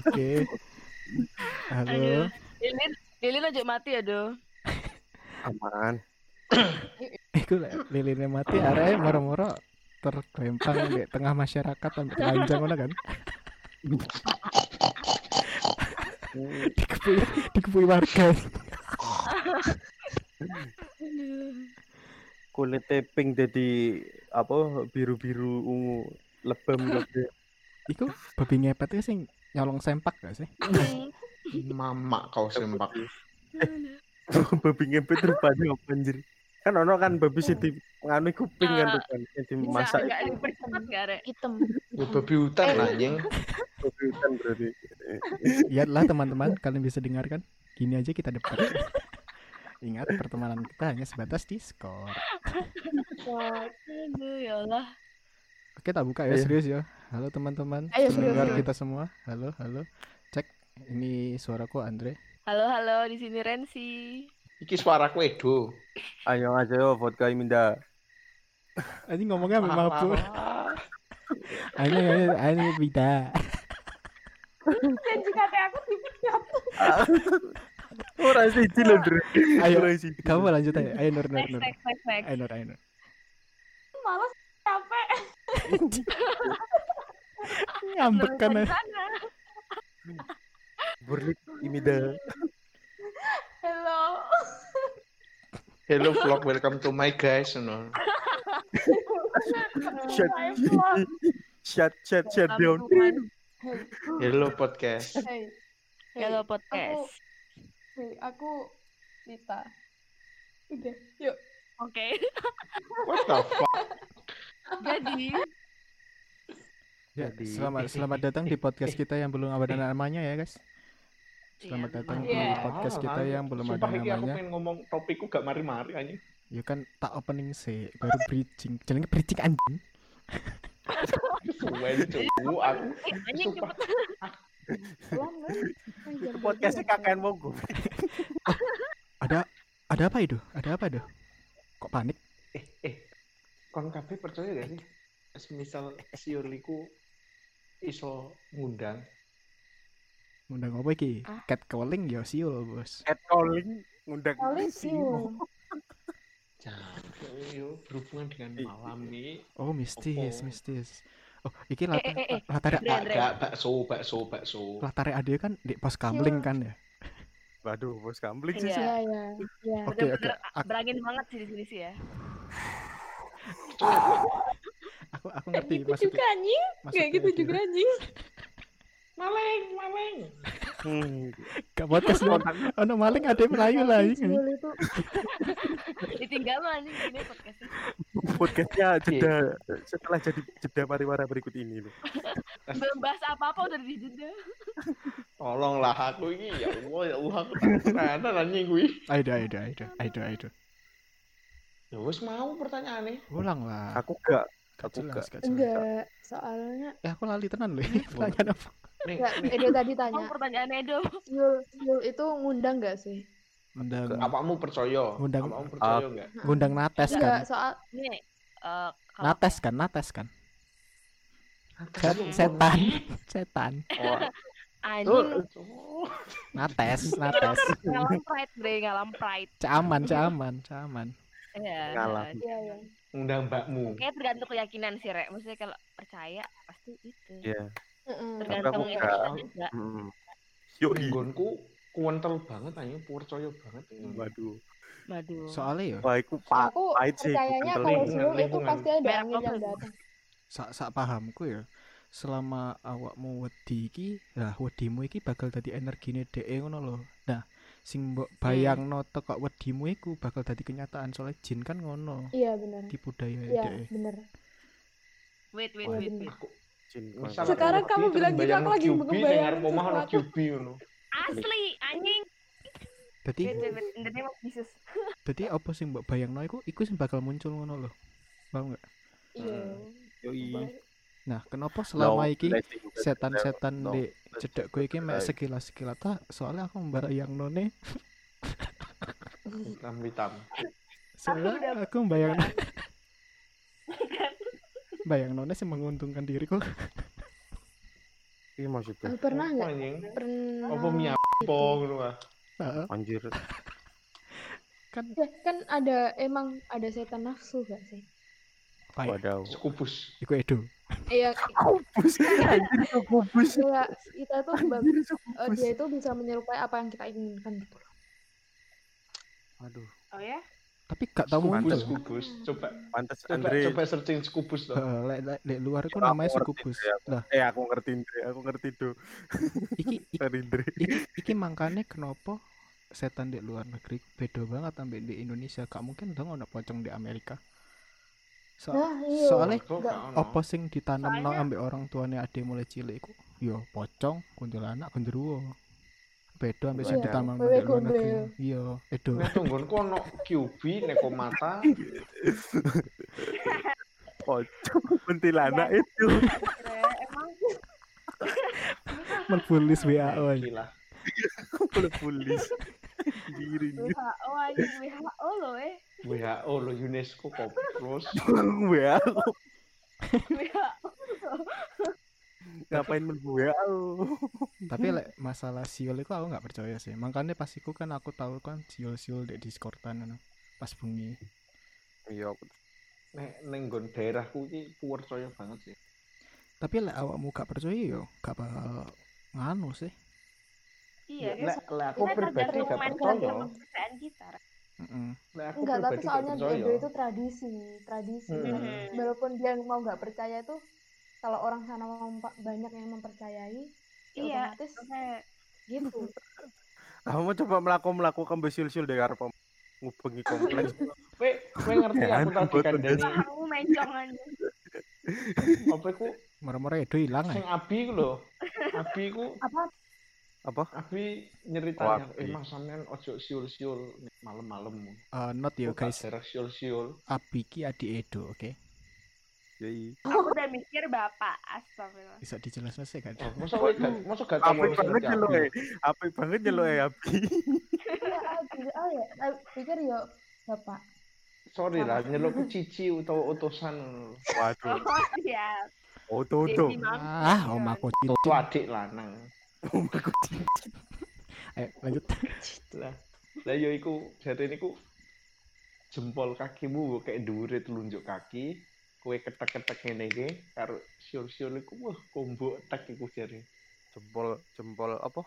Oke. Halo. Aduh. Lilin, Lilin aja mati aduh. Aman. Eh, gue liat lilinnya mati arahnya moro-moro tergelempang di tengah masyarakat sampai telanjang mana kan? Dikepui, dikepui warga. Aduh. Kulitnya pink jadi apa biru-biru ungu lebam lebam. Iku babi ngepet itu sing nyolong sempak gak sih? Mama kau sempak. babi ngepet rupanya apa anjir? Kan ono kan babi sing di nganu iku pink kan Ah, rupanya sing Bisa dimasak enggak iku dipercepat enggak, Rek? hitam Ya, babi Eh. hutan anjing. babi hutan berarti. Lihatlah teman-teman, kalian bisa dengarkan. Gini aja kita debat. Ingat pertemanan kita hanya sebatas Discord. Aduh, ya Allah. Oke, tak buka ya Ayo. serius ya. Halo teman-teman. Ayo, serius, Pendengar serius. kita semua. Halo, halo. Cek ini suaraku Andre. Halo, halo, di sini Rensi. Iki suara ku edo. Ayo aja vodka minda. Anjing ngomongnya ambil mabuk. Ah, Anjing anjing anjing beda. dan jika aku dipecat Ora siji lho, Dre. Ayo, Ora siji. Kamu lanjut aja. Ayo Nur Nur Next, Nur. next, next, next. Ayo Nur Ayo Nur. malas capek Ngambek kan. aja. Lulusan sana. Burlik imida. hello Hello vlog, welcome to my guys. No. Shut. Saya pulang. Shut shut shut down. Kampungan. Hey, Hello podcast. hey, hey. Hello podcast. Hey, aku Lita udah yuk Oke. What the fuck? Jadi, Ya, Jadi- Selamat selamat datang di podcast kita yang belum ada namanya ya, guys. Selamat Iya, datang di Iya. podcast kita Ah, yang belum ada Sumpah iki aku namanya. pengen ngomong topikku gak mari-mari anjing. Ya kan tak opening sih, baru bridging. Jenenge bridging anjing. Suwen cu, aku. eh, anjing Sumpah. cepet. pulang kan Itu podcastnya kakek monggo. Ada ada apa itu? Ada apa itu? Kok panik? Eh, eh. Kon kabeh percaya gak sih? Misal si Yuli ku iso ngundang Ngundang apa iki? Ah. Catcalling ya siul, Bos. At calling ngundang kali sih Simo. Capek yo berhubungan dengan Ih. malam nih. Oh, mistis, Opo. mistis. Oh, iki Eh, latar eh, eh, eh. latar Andre, Andre. Agak bakso, bakso, bakso. latar ade kan di pos kamling Siul. kan ya. Waduh, bos kamling sih. Iya. ya ya ya Oke, oke. Bener-bener Aku- Berangin banget sih di sini sih ya. Aku aku Kayak ngerti gitu juga anjing maksudnya kayak gitu dia. juga anjing Maleng, maleng. Hmm. Gak podcast lu. Ono maling ade melayu lah iya kan? ini. Jul itu Ditinggal lo anjing ini podcastnya. Podcastnya jeda setelah jadi jeda pariwara berikut ini. loh. Belum bahas apa-apa udah di jeda. Tolonglah aku ini ya Allah ya Allah aku pertanyaan anjing gue. Ayo, ayo, ayo, ayo, ayo, ayo. Ya wis mau pertanyaane. Ulang lah. Aku gak aku jelas, gak jelas. enggak soalnya Eh, aku lali tenan loh. Pertanyaan apa? Nih, enggak Edo tadi Emang tanya pertanyaan Oh, Edo. Yul Yul itu ngundang nggak sih Ngundang apamu percaya? Ngundang- Apamu percaya enggak? ngundang nates kan. enggak soal Nih, eh, kalau- Nates kan, nates kan. Set- Nates. setan, setan. Oh, Anjing. Oh, Nates, nates. Ngalam pride, Bre, ngalam pride. Caman, caman, caman. Iya. Ngalam. iya ya Ngundang mbakmu. Kayak tergantung keyakinan sih, Rek. Maksudnya kalau percaya pasti itu. Iya. Mm-mm. Tergantung aku itu enggak. juga. hmm. Yuk, i. Nggonku kuwentel banget anjing percaya banget. waduh. Waduh. Soalnya ya, Wah, aku pa aku pahit sih, percayanya bener. kalau Lingkungan, Yul itu lingkungan. pasti ada Merek angin yang apa? datang sak sak pahamku ya. Selama awakmu wedi iki, lah wedimu iki bakal dadi energine dhek ngono lho. Nah, sing mbok bayangno teko wedimu iku bakal dadi kenyataan soalnya jin kan ngono. iya benar Iki budaya iya dhek. benar Wait, wait, wait, wait. Aku Jin, misal kok. Sekarang kamu bilang gitu, aku lagi ngebayangin ngarep omah ono sesuatu. QB ngono. Asli, anjing. Dadi Wait, wait, wait. In the name of Jesus. dadi apa sing mbok bayangno iku iku sing bakal muncul ngono lho. Paham nggak? iya Hmm. Yuk, i. Nah, kenapa selama No iki blessing, but setan-setan no di cedek gue iki mek Right. sekilas-sekilas tak soalnya aku mbayang none Hitam hitam. soalnya aku mbayang bayang none sih menguntungkan diriku i. piye maksudnya? Eh, pernah Apa, nggak anjing? pernah Apa mia gitu. po ngono ah. Heeh, Anjir. kan Ya, kan ada emang ada setan nafsu gak sih kayak Waduh. Sekubus. iku edo iya Kubus. Anjir kok kubus. kayak kita tuh bab- Anjir kok eh, kubus. dia itu bisa menyerupai apa yang kita inginkan gitu loh. Aduh, Oh ya? tapi gak tau muncul Sekubus, sekubus. Hmm. Coba pantas coba Andre. coba searching sekubus toh. Heeh, lek lek- lek luar iku Aku namanya ngerti, sekubus Dre, lah Eh aku ngerti Andre, aku ngerti do. iki iki, Sorry Andre. iki, iki mangkane kenapa setan di luar negeri beda banget sampai di Indonesia gak mungkin dong ono pocong di Amerika So- nah iya soalnya Kok Enggak. gak ono? apa sing ditanam no Soalnya- ambek orang tuane ade mulai cilik iku ya pocong kuntilanak genderuwo beda ambek sing Iya, ditanam wewe ambek luar negeri gombel. iya edo Nek tunggonku ono QB neko mata. Pocong kuntilanak Iya. itu. Rek, emang mlebu list WHO anjing. Gila. Kalau polis. Diri ini. WHO aja WHO loh eh. WHO lo UNESCO kok terus. Gue aku WHO. ngapain men gue aku. tapi lek masalah siul iku aku nggak percaya sih makanya pas iku kan aku tahu kan siul-siul di discordan ngono pas bengi Iya, aku Nek ning nggon daerahku iki percaya banget sih. tapi lek awakmu gak percaya yo gak bakal nganu sih Iya, Nek- nek lek aku Kita pribadi tergantung gak main percaya. film. kepercayaan kita. Rek. Mm-mm. Lek aku enggak tapi pribadi gak soalnya di percaya. Indo itu tradisi tradisi Mm-mm. kan. walaupun dia mau nggak percaya tuh kalau orang sana mempa- banyak yang mempercayai ya Iya. otomatis Oke. gitu Kamu coba melakukan melakukan besil-sil dari arep ngubengi kompleks. Kowe kowe ngerti Ya, aku tadi buat kandani Kamu mencong aja. apa iku merem-merem edo hilang sing ae Abi iku lho. Abi iku apa Apa? Abi Oh, nyeritanya, Abi. eh mas sampean ojo siul-siul malam-malam. Eh, not yo Yo guys Daerah siul-siul. abi ki adi edo oke Ya iya. Aku udah mikir bapak astagfirullah. bisa dijelasin sih kan Oh, masa kowe gak masa gak tau Apik kowe banget ngerti ya lo Abi? eh. Apik banget ya lo eh Abi. iya abi oh ya Abi pikir yo bapak Sorry lah, nyelok cici utawa utusan. Waduh. Oh iya. Oh tuh tuh. Jadi maaf. ah omahku cil Itu adik lanang. ayo Eh, lanjut Lah, lah yo iku jare niku jempol kakimu kayak dhuwure telunjuk kaki, kowe ketek-ketek ngene iki karo siul-siul iku wah kombo tek iku jare. Jempol jempol apa?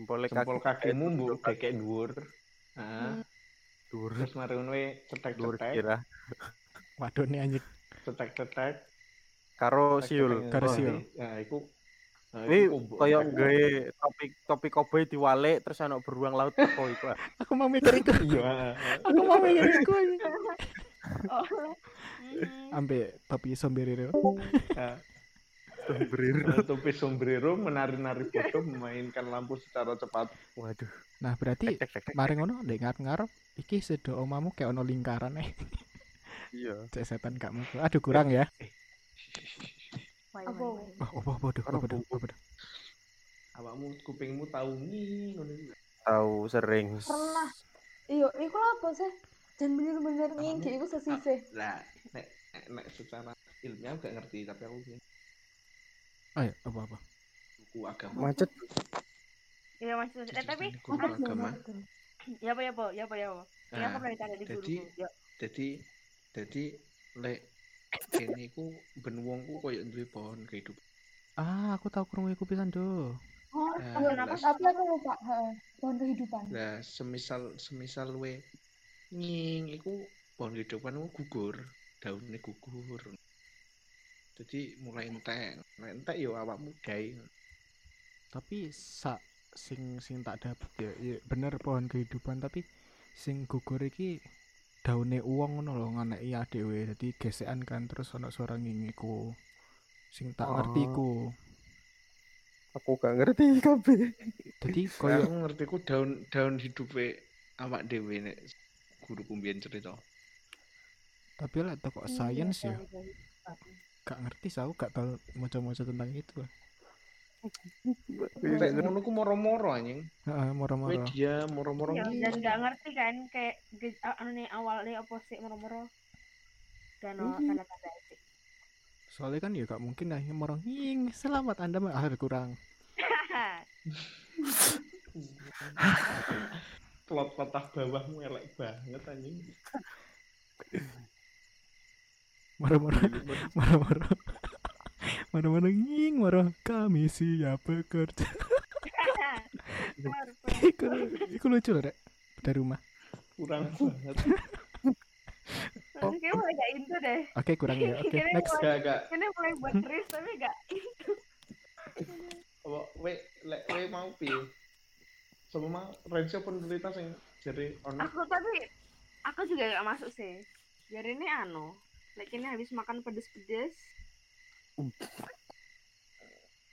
Jempol kaki. Jempol kakimu mbok kayak dhuwur. Hmm. Heeh. Dur. Terus mari ngono wae Dur cetek-cetek, kira. waduh nih anjir cetek-cetek. Karo Oh, siul. Karo siul. Nah, iku nah, Ini iku kombo kayak tek. gawe topi topi koboi diwalek terus anak beruang laut teko iku. ah. aku mau mikir iku Iya. heeh. aku mau mikir iku anjing. Oh. Mhm. ambek topi sombrero Nah, Sombrero. Topi sombrero menari-nari bodoh memainkan lampu secara cepat. Waduh. nah berarti Tek, tek, tek. mari ngono ndek ngarep-ngarep iki sedo omamu kayak ono lingkaran eh Iya. cek setan gak mau aduh kurang ya Wai, apa wai, wai. wah Oh, apa apa aduh apa aduh apa aduh Awakmu kupingmu tahu nih. ngono iku. Tahu sering. Pernah. iyo Iya, iku apa sih dan bener-bener Kamu- nginggi iku sesisih Lah, nek nek, nek secara ilmiah gak ngerti tapi aku punya ayo apa apa buku agama. Macet. Iya maksudnya eh, tapi Ah, Buku agama. ya apa ya apa ya apa ya apa. Ya aku Nah, pernah ditanya di guru. jadi- Ya. jadi jadi lek kene iku ben wongku koyo duwe pohon kehidupan. ah aku tahu kerungu iku pisan do oh Eh, Nah, iya kenapa? tapi aku lupa heeh, pohon kehidupan Lah, semisal semisal we nying iku pohon kehidupan iku gugur, daunnya gugur. Jadi mulai entek, Nek entek yo awakmu gawe. tapi sak sing sing tak dapet ya, ya bener pohon kehidupan tapi sing gugur iki daune uang ngono lho nganeki adewe dadi gesekan kan terus ono suara ngingiku sing tak ngerti iku Aku gak ngerti kabeh. dadi Koyo koyo aku ngerti ku daun daun hidupe awak dhewe nek guru kumbien cerita. tapi lek teko Iya, science ya iya, iya. gak ngerti sih, aku gak tau moco-moco tentang itu Lek ngono ku moro-moro anjing. heeh Kowe moro-moro dia moro-moro Iya, ngene. dan nggak ngerti kan kayak ge- oh, a- anu nih awalnya apa sih moro-moro dan no, tanda-tanda itu. soalnya kan ya gak mungkin akhirnya morong "Ying, selamat anda akhir kurang plot patah bawahmu elek banget anjing marah-marah marah-marah marah-marah "Ying, marah kami siap bekerja iku, iku lucu loh rek dari rumah kurang banget Oh. Kayaknya mulai gak into deh. oke kurang ya oke Kira-kira next gak gak Ini mulai buat risk tapi gak apa we lek we mau piye sama mau Renzo penderita sing jadi ono aku tapi aku juga gak masuk sih jadi ini anu like ini habis makan pedes-pedes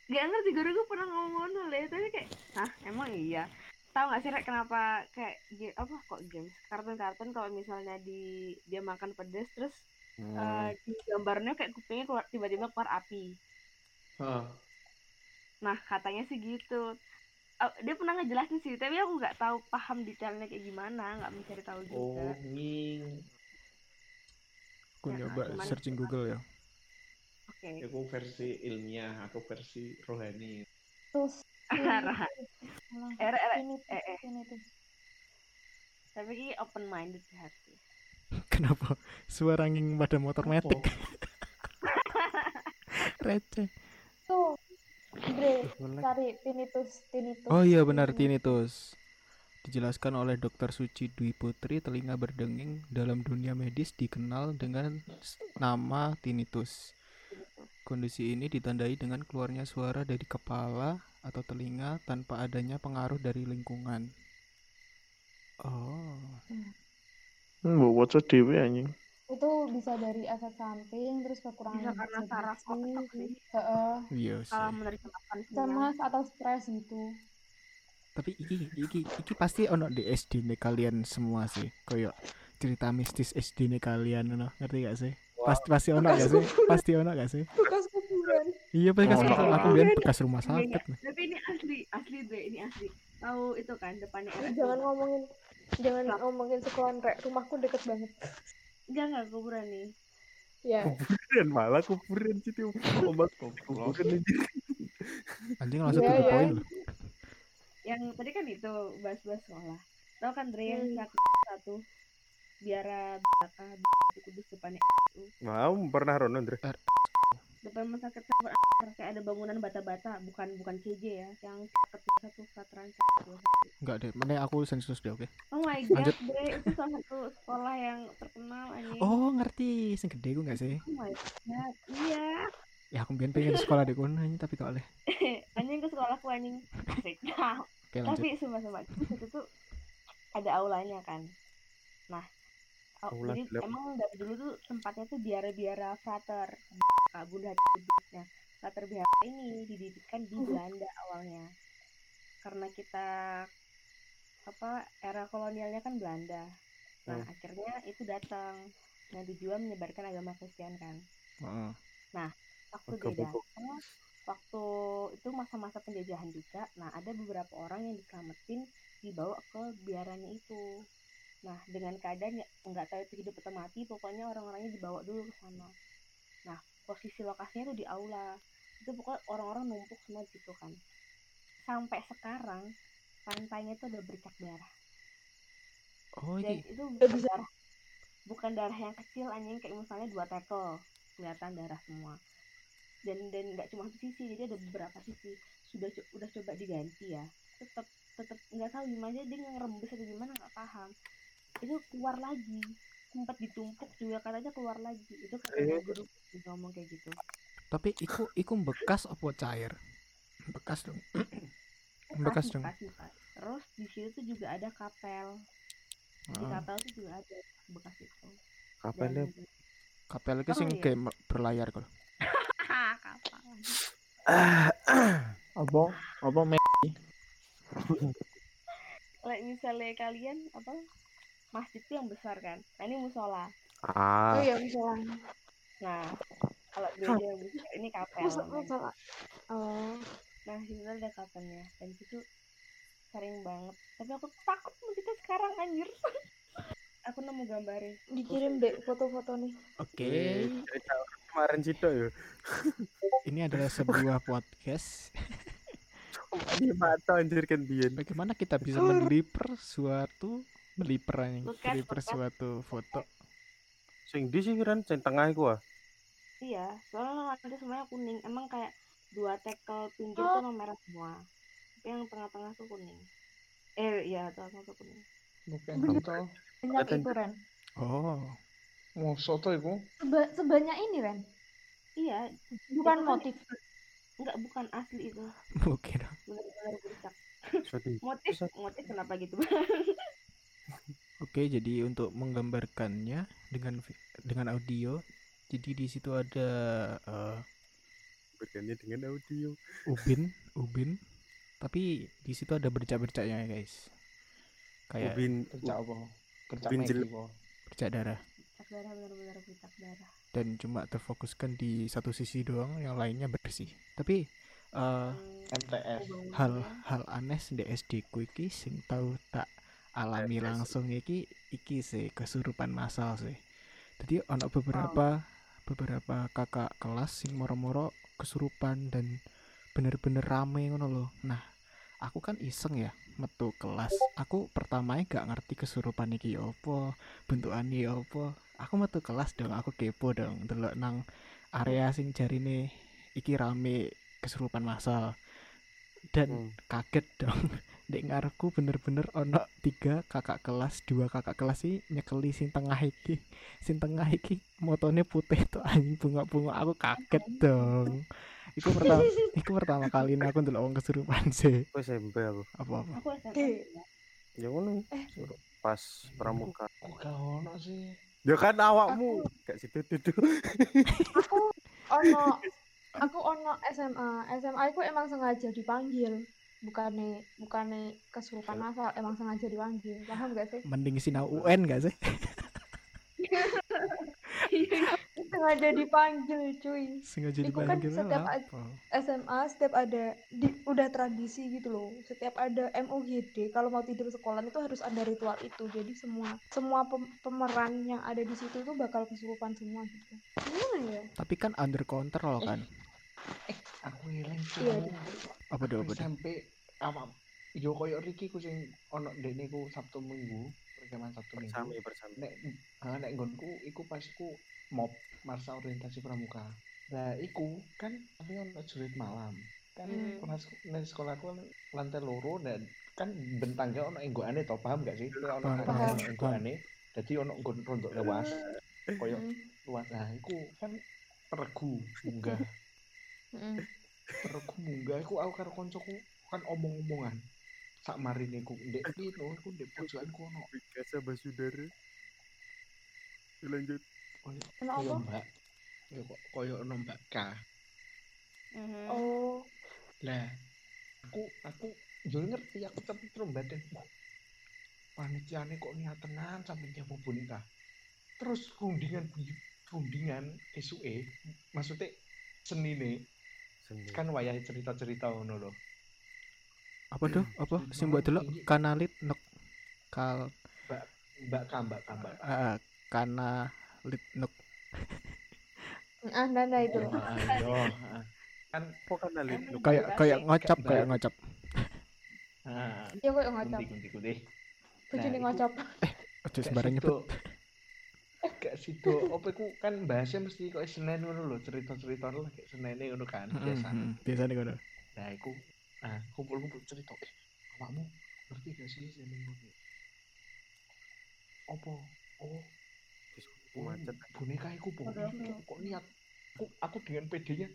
gak ngerti guru gue pernah ngomong ngono le tapi kayak hah emang iya tahu gak sih Rek, kenapa kayak ge- apa kok games kartun-kartun kalau misalnya di dia makan pedes terus eh, di gambarnya kayak kupingnya keluar tiba-tiba keluar api Heeh. Nah, katanya sih gitu. Eh, dia pernah ngejelasin sih, tapi aku nggak tahu paham detailnya kayak gimana, nggak mencari tahu oh juga. nging aku nyoba Cuman- searching Google ya Oke. aku versi ilmiah aku versi rohani Terus ah, Arah. Eh, Ah, eh, eh, ini eh, eh. ini tuh. tapi ini open minded sih hati. kenapa suara nging pada motor metik Oh, receh Tuh. Bre, Boleh. cari tinnitus, tinnitus. oh iya benar tinnitus dijelaskan oleh Dr. Suci Dwi Putri telinga berdenging dalam dunia medis dikenal dengan s- nama tinnitus kondisi ini ditandai dengan keluarnya suara dari kepala atau telinga tanpa adanya pengaruh dari lingkungan oh Mbok waca dhewe anjing. Itu bisa dari efek samping, terus Bisa kekurangan Iya, karena nutrisi, saraf otak sih. Iya. heeh, iya sih Kalau menerima makan sinyal. cemas atau stres gitu. tapi iki iki iki pasti ono di SD nih kalian semua sih koyo cerita mistis SD nih kalian ono ngerti gak sih pasti pasti ono gak sih pasti ono gak sih Bekas kuburan. iya bekas Ono. aku bilang bekas rumah Iya, iya. sakit nih Tapi ini asli, asli deh, ini asli. Tahu itu kan depannya Eh, RS. jangan ngomongin jangan ngomongin sekolah rek rumahku deket banget Enggak enggak kuburan nih. ya Kuburan malah kuburan sih tiup. Obat goblok. kuburan anjing. anjing langsung Iya, tuh iya. poin Yang tadi kan itu bahas-bahas sekolah. Tahu kan Dre yang Hmm. satu satu biara belaka kudus depannya Mau pernah rono Ndre. depan rumah sakit server a**, kayak ada bangunan bata-bata bukan bukan CJ ya yang sakit satu veteran enggak deh mana aku sensus deh oke oh my god Lanjut. Bre, itu salah satu sekolah yang terkenal anjing oh ngerti sing gede ku gak sih Oh my god iya ya aku bilang pengen sekolah di kono anjing, tapi gak oleh anjing ke sekolahku anjing asik oke lanjut tapi sumpah-sumpah Terus itu tuh ada aulanya kan nah au- Aula jadi gelap. emang dari dulu tuh tempatnya tuh biara-biara frater kak bunda nah frater biara ini didirikan di Belanda awalnya karena kita apa era kolonialnya kan Belanda nah Hmm. akhirnya itu datang nah dijual menyebarkan agama Kristen kan Heeh. waktu Oke, beda Bu. waktu itu masa-masa penjajahan juga nah ada beberapa orang yang diselamatin dibawa ke biaranya itu nah dengan keadaan ya- nggak tahu itu hidup atau mati pokoknya orang-orangnya dibawa dulu ke sana nah posisi lokasinya tuh di aula itu pokoknya orang-orang numpuk semua gitu kan sampai sekarang pantainya tuh udah bercak darah oh dan iki itu Nggak bisa. darah bukan darah yang kecil anjing kayak misalnya dua tekel kelihatan darah semua dan dan nggak cuma satu sisi jadi ada beberapa sisi sudah co- udah coba diganti ya tetap tetap nggak tahu gimana dia ngerembes atau gimana nggak paham itu keluar lagi sempat ditumpuk juga katanya keluar lagi itu Eh. katanya guru juga ngomong kayak gitu tapi iku iku bekas apa cair bekas dong Bekas dong. bekas. terus di situ tuh juga ada kapel di Heeh. kapel tuh juga ada bekas itu Kapelnya Dan- kapel iki sing Seru ya? game berlayar kok kapel apa apa me like misalnya kalian apa masjid tuh yang besar kan nah ini musola oh ah iya misalnya nah kalau gereja yang besar ini kapel Masa- namanya. masa- oh nah di situ ada kapelnya dan itu sering banget tapi aku takut masjidnya sekarang anjir aku nemu gambarnya dikirim dek foto-foto nih oke Oke, cerita kemarin situ ya. Ini adalah sebuah podcast. Ini mata anjir kan biyen. Bagaimana kita bisa meliper suatu meliper anjing, Podcast, meliper podcast. suatu foto. Sing di sih kan sing tengah iku ah. Iya, soalnya ada semuanya kuning. Emang kayak dua tackle pinggir tuh emang merah semua. Tapi yang tengah-tengah tuh kuning. Eh, iya, tengah-tengah tuh kuning. Bukan contoh. Banyak Kelihatan. itu Ren. Oh, Mosok to iku. Seba- sebanyak ini Ren. Iya, Bukan Itu kan- motif. enggak bukan asli itu. mungkin. Benar-benar rusak. Jadi Motif, Rusak. motif kenapa gitu? Oke, jadi untuk menggambarkannya dengan vi- dengan audio, jadi di situ ada eh, berganti dengan audio. ubin, ubin, tapi di situ ada bercak-bercaknya guys, kayak Ubin Kerja apa? Kerja Ubin Maggi jelek. kok. bercak darah Bercak darah, benar-benar bercak darah. dan cuma terfokuskan di satu sisi doang, yang lainnya bersih. Tapi eh, Hmm, MTS. kebangunnya. hal-hal aneh di SD ku iki sing tau tak alami langsung iki iki sih kesurupan masal sih jadi ono beberapa beberapa kakak kelas sing moro-moro kesurupan dan bener-bener rame ngono loh nah aku kan iseng ya metu kelas aku pertamanya gak ngerti kesurupan iki ya opo bentukane opo ya aku metu kelas dong aku kepo dong delok nang area sing jarine iki rame kesurupan masal dan Hmm. kaget dong dek ngarepku bener-bener ono tiga kakak kelas dua kakak kelas sih nyekeli sing tengah iki sing tengah iki motone putih tuh anjing bunga-bunga aku kaget dong iku pertama iku pertama kali aku ndelok wong kesurupan sih aku SMP aku. apa-apa Aku SMA. Di- juga. Ya ngono. Pas pramuka. Kok gak ono sih? Ya kan awakmu. Gak situ duduk. Aku ono aku ono SMA. SMA aku emang sengaja dipanggil. Bukannya bukannya kesurupan masal emang sengaja dipanggil. Paham gak sih? mending sinau UN gak sih Sengaja dipanggil, cuy. sengaja Iku kan dipanggil setiap apa? SMA setiap ada di, udah tradisi gitu loh setiap ada MUGD kalau mau tidur sekolah itu harus ada ritual itu jadi semua semua pem- pemeran yang ada di situ tuh bakal kesurupan semua gitu gimana ya tapi kan under control kan Aku eling sih. Iya, ono. iya. apa Aku do apa do? SMP awam. Yo koyo Riki ku sing ono dene ku Sabtu Minggu, rekaman Sabtu Minggu. Bersami bersami. nek ah, nek nggonku iku pas iku mop masa orientasi pramuka nah iku kan tapi ono jurit malam kan Hmm. kelas nek sekolahku kan lantai loro dan kan bentangnya ono enggoane to paham gak sih Kayak ono Paham, tangga, paham, ono enggoane dadi ono nggon rondok lewas koyo Mm, luas nah iku kan peregu munggah mm, peregu munggah iku aku karo koncoku kan omong-omongan sak marine ku ndek pino iku ndek pojokan ku ono Biasa basudara. Lanjut. Ono koyo apa? mbak Ya, kok koyo ono mbak K Mhm. oh Lah, aku aku yo ngerti aku tapi terus badan wah, panitiane kok niat tenan sampe dia mau boneka. Terus rundingan bunyi rundingan esuke maksudnya senine Sendiri. kan wayahe cerita-cerita ngono lho. apa do apa Jurit sing malam mbok delok tinggi. kanalit nek kal Mbak kambak kambak. eh, kanalit nek ah nah, nah itu Yo, ayo. Kan Kok kan alit? Kan- kayak kayak Kasih. ngocap kayak Gambar. ngocap ah, ya kok yang ngocap kunti-kunti-kunti. bojone Nah, itu- ngocap aja Gak sembarang nyebut sido. Gak sido. Apa iku kan bahasnya mesti kok Senin ngono lho, cerita-cerita lho kayak Senin ngono kan biasa. biasa nih kono Nah, aku nah, kumpul-kumpul cerita. Eh, awakmu ngerti gak sih sing ning kono? Apa? Oh, oh, Macet. boneka iku po. Padahal Iki aku- Kok niat aku, aku dengan PD-nya.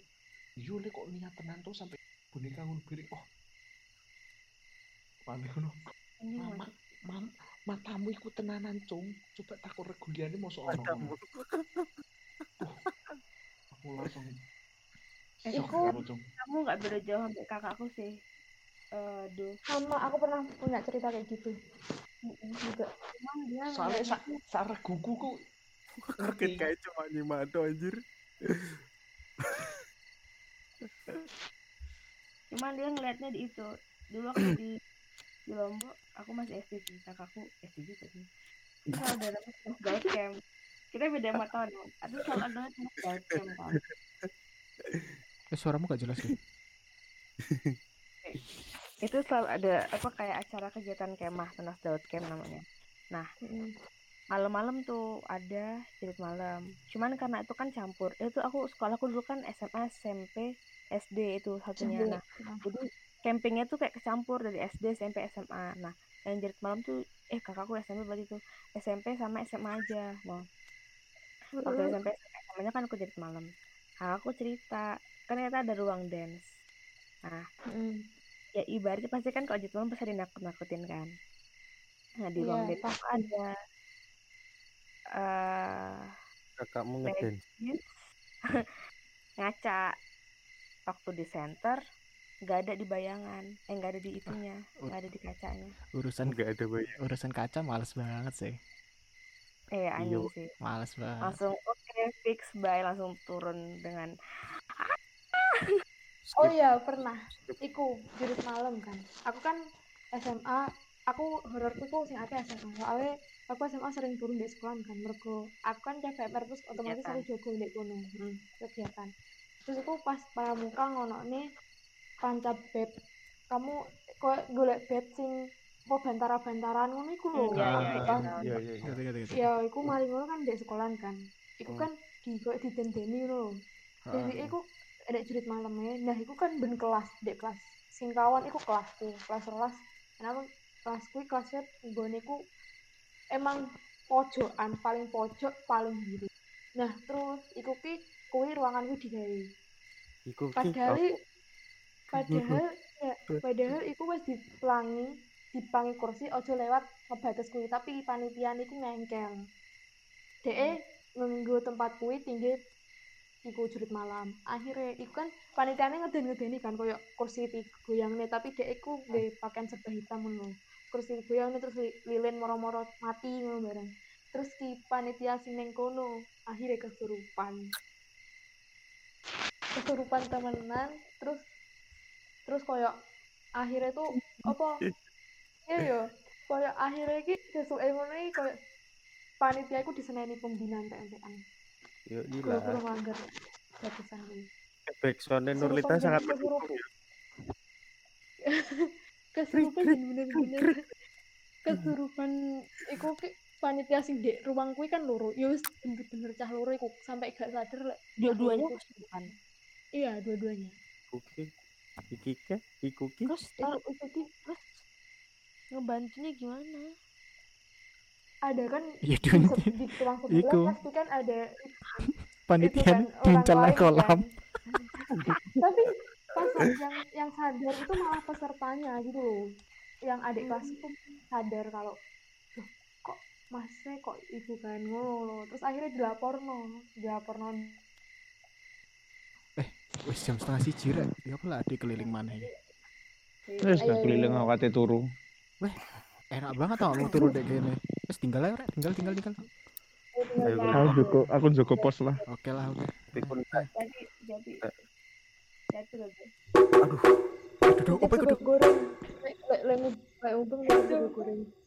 Iya, Le, kok niat tenan tuh sampai boneka ngono piring. Oh. Pamit ngono. Ini Mama, masih- mam, matamu iku tenanan, Cung. Coba takut reguliane mosok ono. Uh, Matamu. Aku langsung Eh, shock iku- karo Cung. Kamu nggak beda jauh sampai kakakku sih. Eh, duh. sama aku pernah punya cerita kayak gitu juga Cuman dia Soalnya nggak- sak sak reguku ku Kaget kayak cuma nyimak doang, anjir. cuman dia ngelihatnya di itu dulu aku di di Lombok aku masih SD sih kakakku SD juga sih terus saudara aku gak camp Kita beda sama tahun. Aku selalu ada cuma jam kan. Eh, suaramu gak jelas deh. Itu selalu ada apa kayak acara kegiatan kemah, Tenas Daud Camp namanya. Nah, Mm-mm. Malam-malam tuh ada jilid malam. Cuman karena itu kan campur. Itu aku sekolahku dulu kan SMA, SMP, SD itu satunya. Campur. Nah, jadi campingnya tuh kayak kecampur dari SD SMP SMA nah yang jerit malam tuh eh kakakku SMP berarti tuh SMP sama SMA aja nah waktu Mm-mm. SMP SMA nya kan aku jerit malam nah, aku cerita kan ternyata ada ruang dance nah Mm-mm. ya ibaratnya pasti kan kalau jerit malam pasti ada nakut nakutin kan nah di ruang Iya, dance tuh ada eh kakakmu ngeden ngaca waktu di center nggak ada di bayangan eh nggak ada di itunya nggak ada di kacanya Urusan nggak ada banyak urusan kaca males banget sih. eh anjing Iya. sih Males banget. langsung oke fix bye langsung turun dengan Oh skip iya pernah. Iku jurit malam kan. Aku kan SMA, aku hororku tuh sing akeh SMA. Soalnya aku SMA sering turun di sekolah kan. Mergo aku kan cewek merpus otomatis Kegiatan. aku jago di kono. Hmm, kegiatan. Terus aku pas pramuka ngono nih pancap beb. Kamu kok golek beb sing apa bantara-bantaran ngono iku lho. Iya, Ah, iya, iya, Bang. tahu. iya iya iya Ngerti, ngerti, ngerti. Ya, iku mari ngono kan di sekolah kan. Iku Hmm. kan di kok didendeni lho. Jadi Heeh. aku ada jurit malamnya. Nah, aku kan ben kelas, dek kelas. Sing kawan aku kelasku, kelas kelas. Kenapa kelasku kelasnya goneku emang pojokan paling pojok paling kiri. Nah, terus iku ki kuwi ruanganku digawe. iya, iku ki Padahal aku- padahal ya, padahal iku wis dipelangi dipangi kursi ojo lewat ngebatas kuwi tapi panitia niku ngengkel. Dee nganggo tempat kuwi tinggi iku jurit malam. Akhirnya iku kan panitiane ngeden-ngedeni kan koyo kursi digoyangne tapi dee iku nggih pakaian serba hitam ngono. Kursi digoyangne terus li- lilin moro-moro mati ngono bareng. Terus di panitia sing ning kono akhirnya kesurupan. Kesurupan temenan terus terus koyo akhirnya tuh apa iya yo koyo akhirnya ki sesuai ngono iki koyo panitia iku diseneni pembinaan TNPN yo ilah guru-guru mager batasan kuwi backsoundnya Nurlita Surupan sangat jadi kesurupan. mendukung ya. kesurupan dan bener-bener kesurupan iku ki panitia sing di ruang kuwi kan loro yo wis bener-bener cah loro iku sampai gak sadar lek dua-duanya aku kesurupan iya dua-duanya iku ki iki ki iku ki terus iku tar- iku ki ngebantunya gimana ada kan Iya, di Dun. se- di ruang Iku. sebelah pasti kan ada itu Panitia kan orang ngincal lain kolam. kan. tapi pas yang yang sadar itu malah pesertanya gitu loh yang adik kelas itu sadar kalau "Loh, kok masnya kok ibu kan ngono loh." terus akhirnya dilaporno dilaporno Wis jam setengah siji rek. Ya apa lah adik keliling mana ya. Terus Ayo, udah keliling ayo. awake turu. Enak banget tau mau turun dek kene. Wis tinggal ae rek, tinggal tinggal tinggal. Ayo, Aku joko, aku joko pos lah. Oke lah, oke. pikun jadi jadi jadi lebih Duduk, opo Itu iku, Duk? goreng lek lek lek lek ubeng lek goreng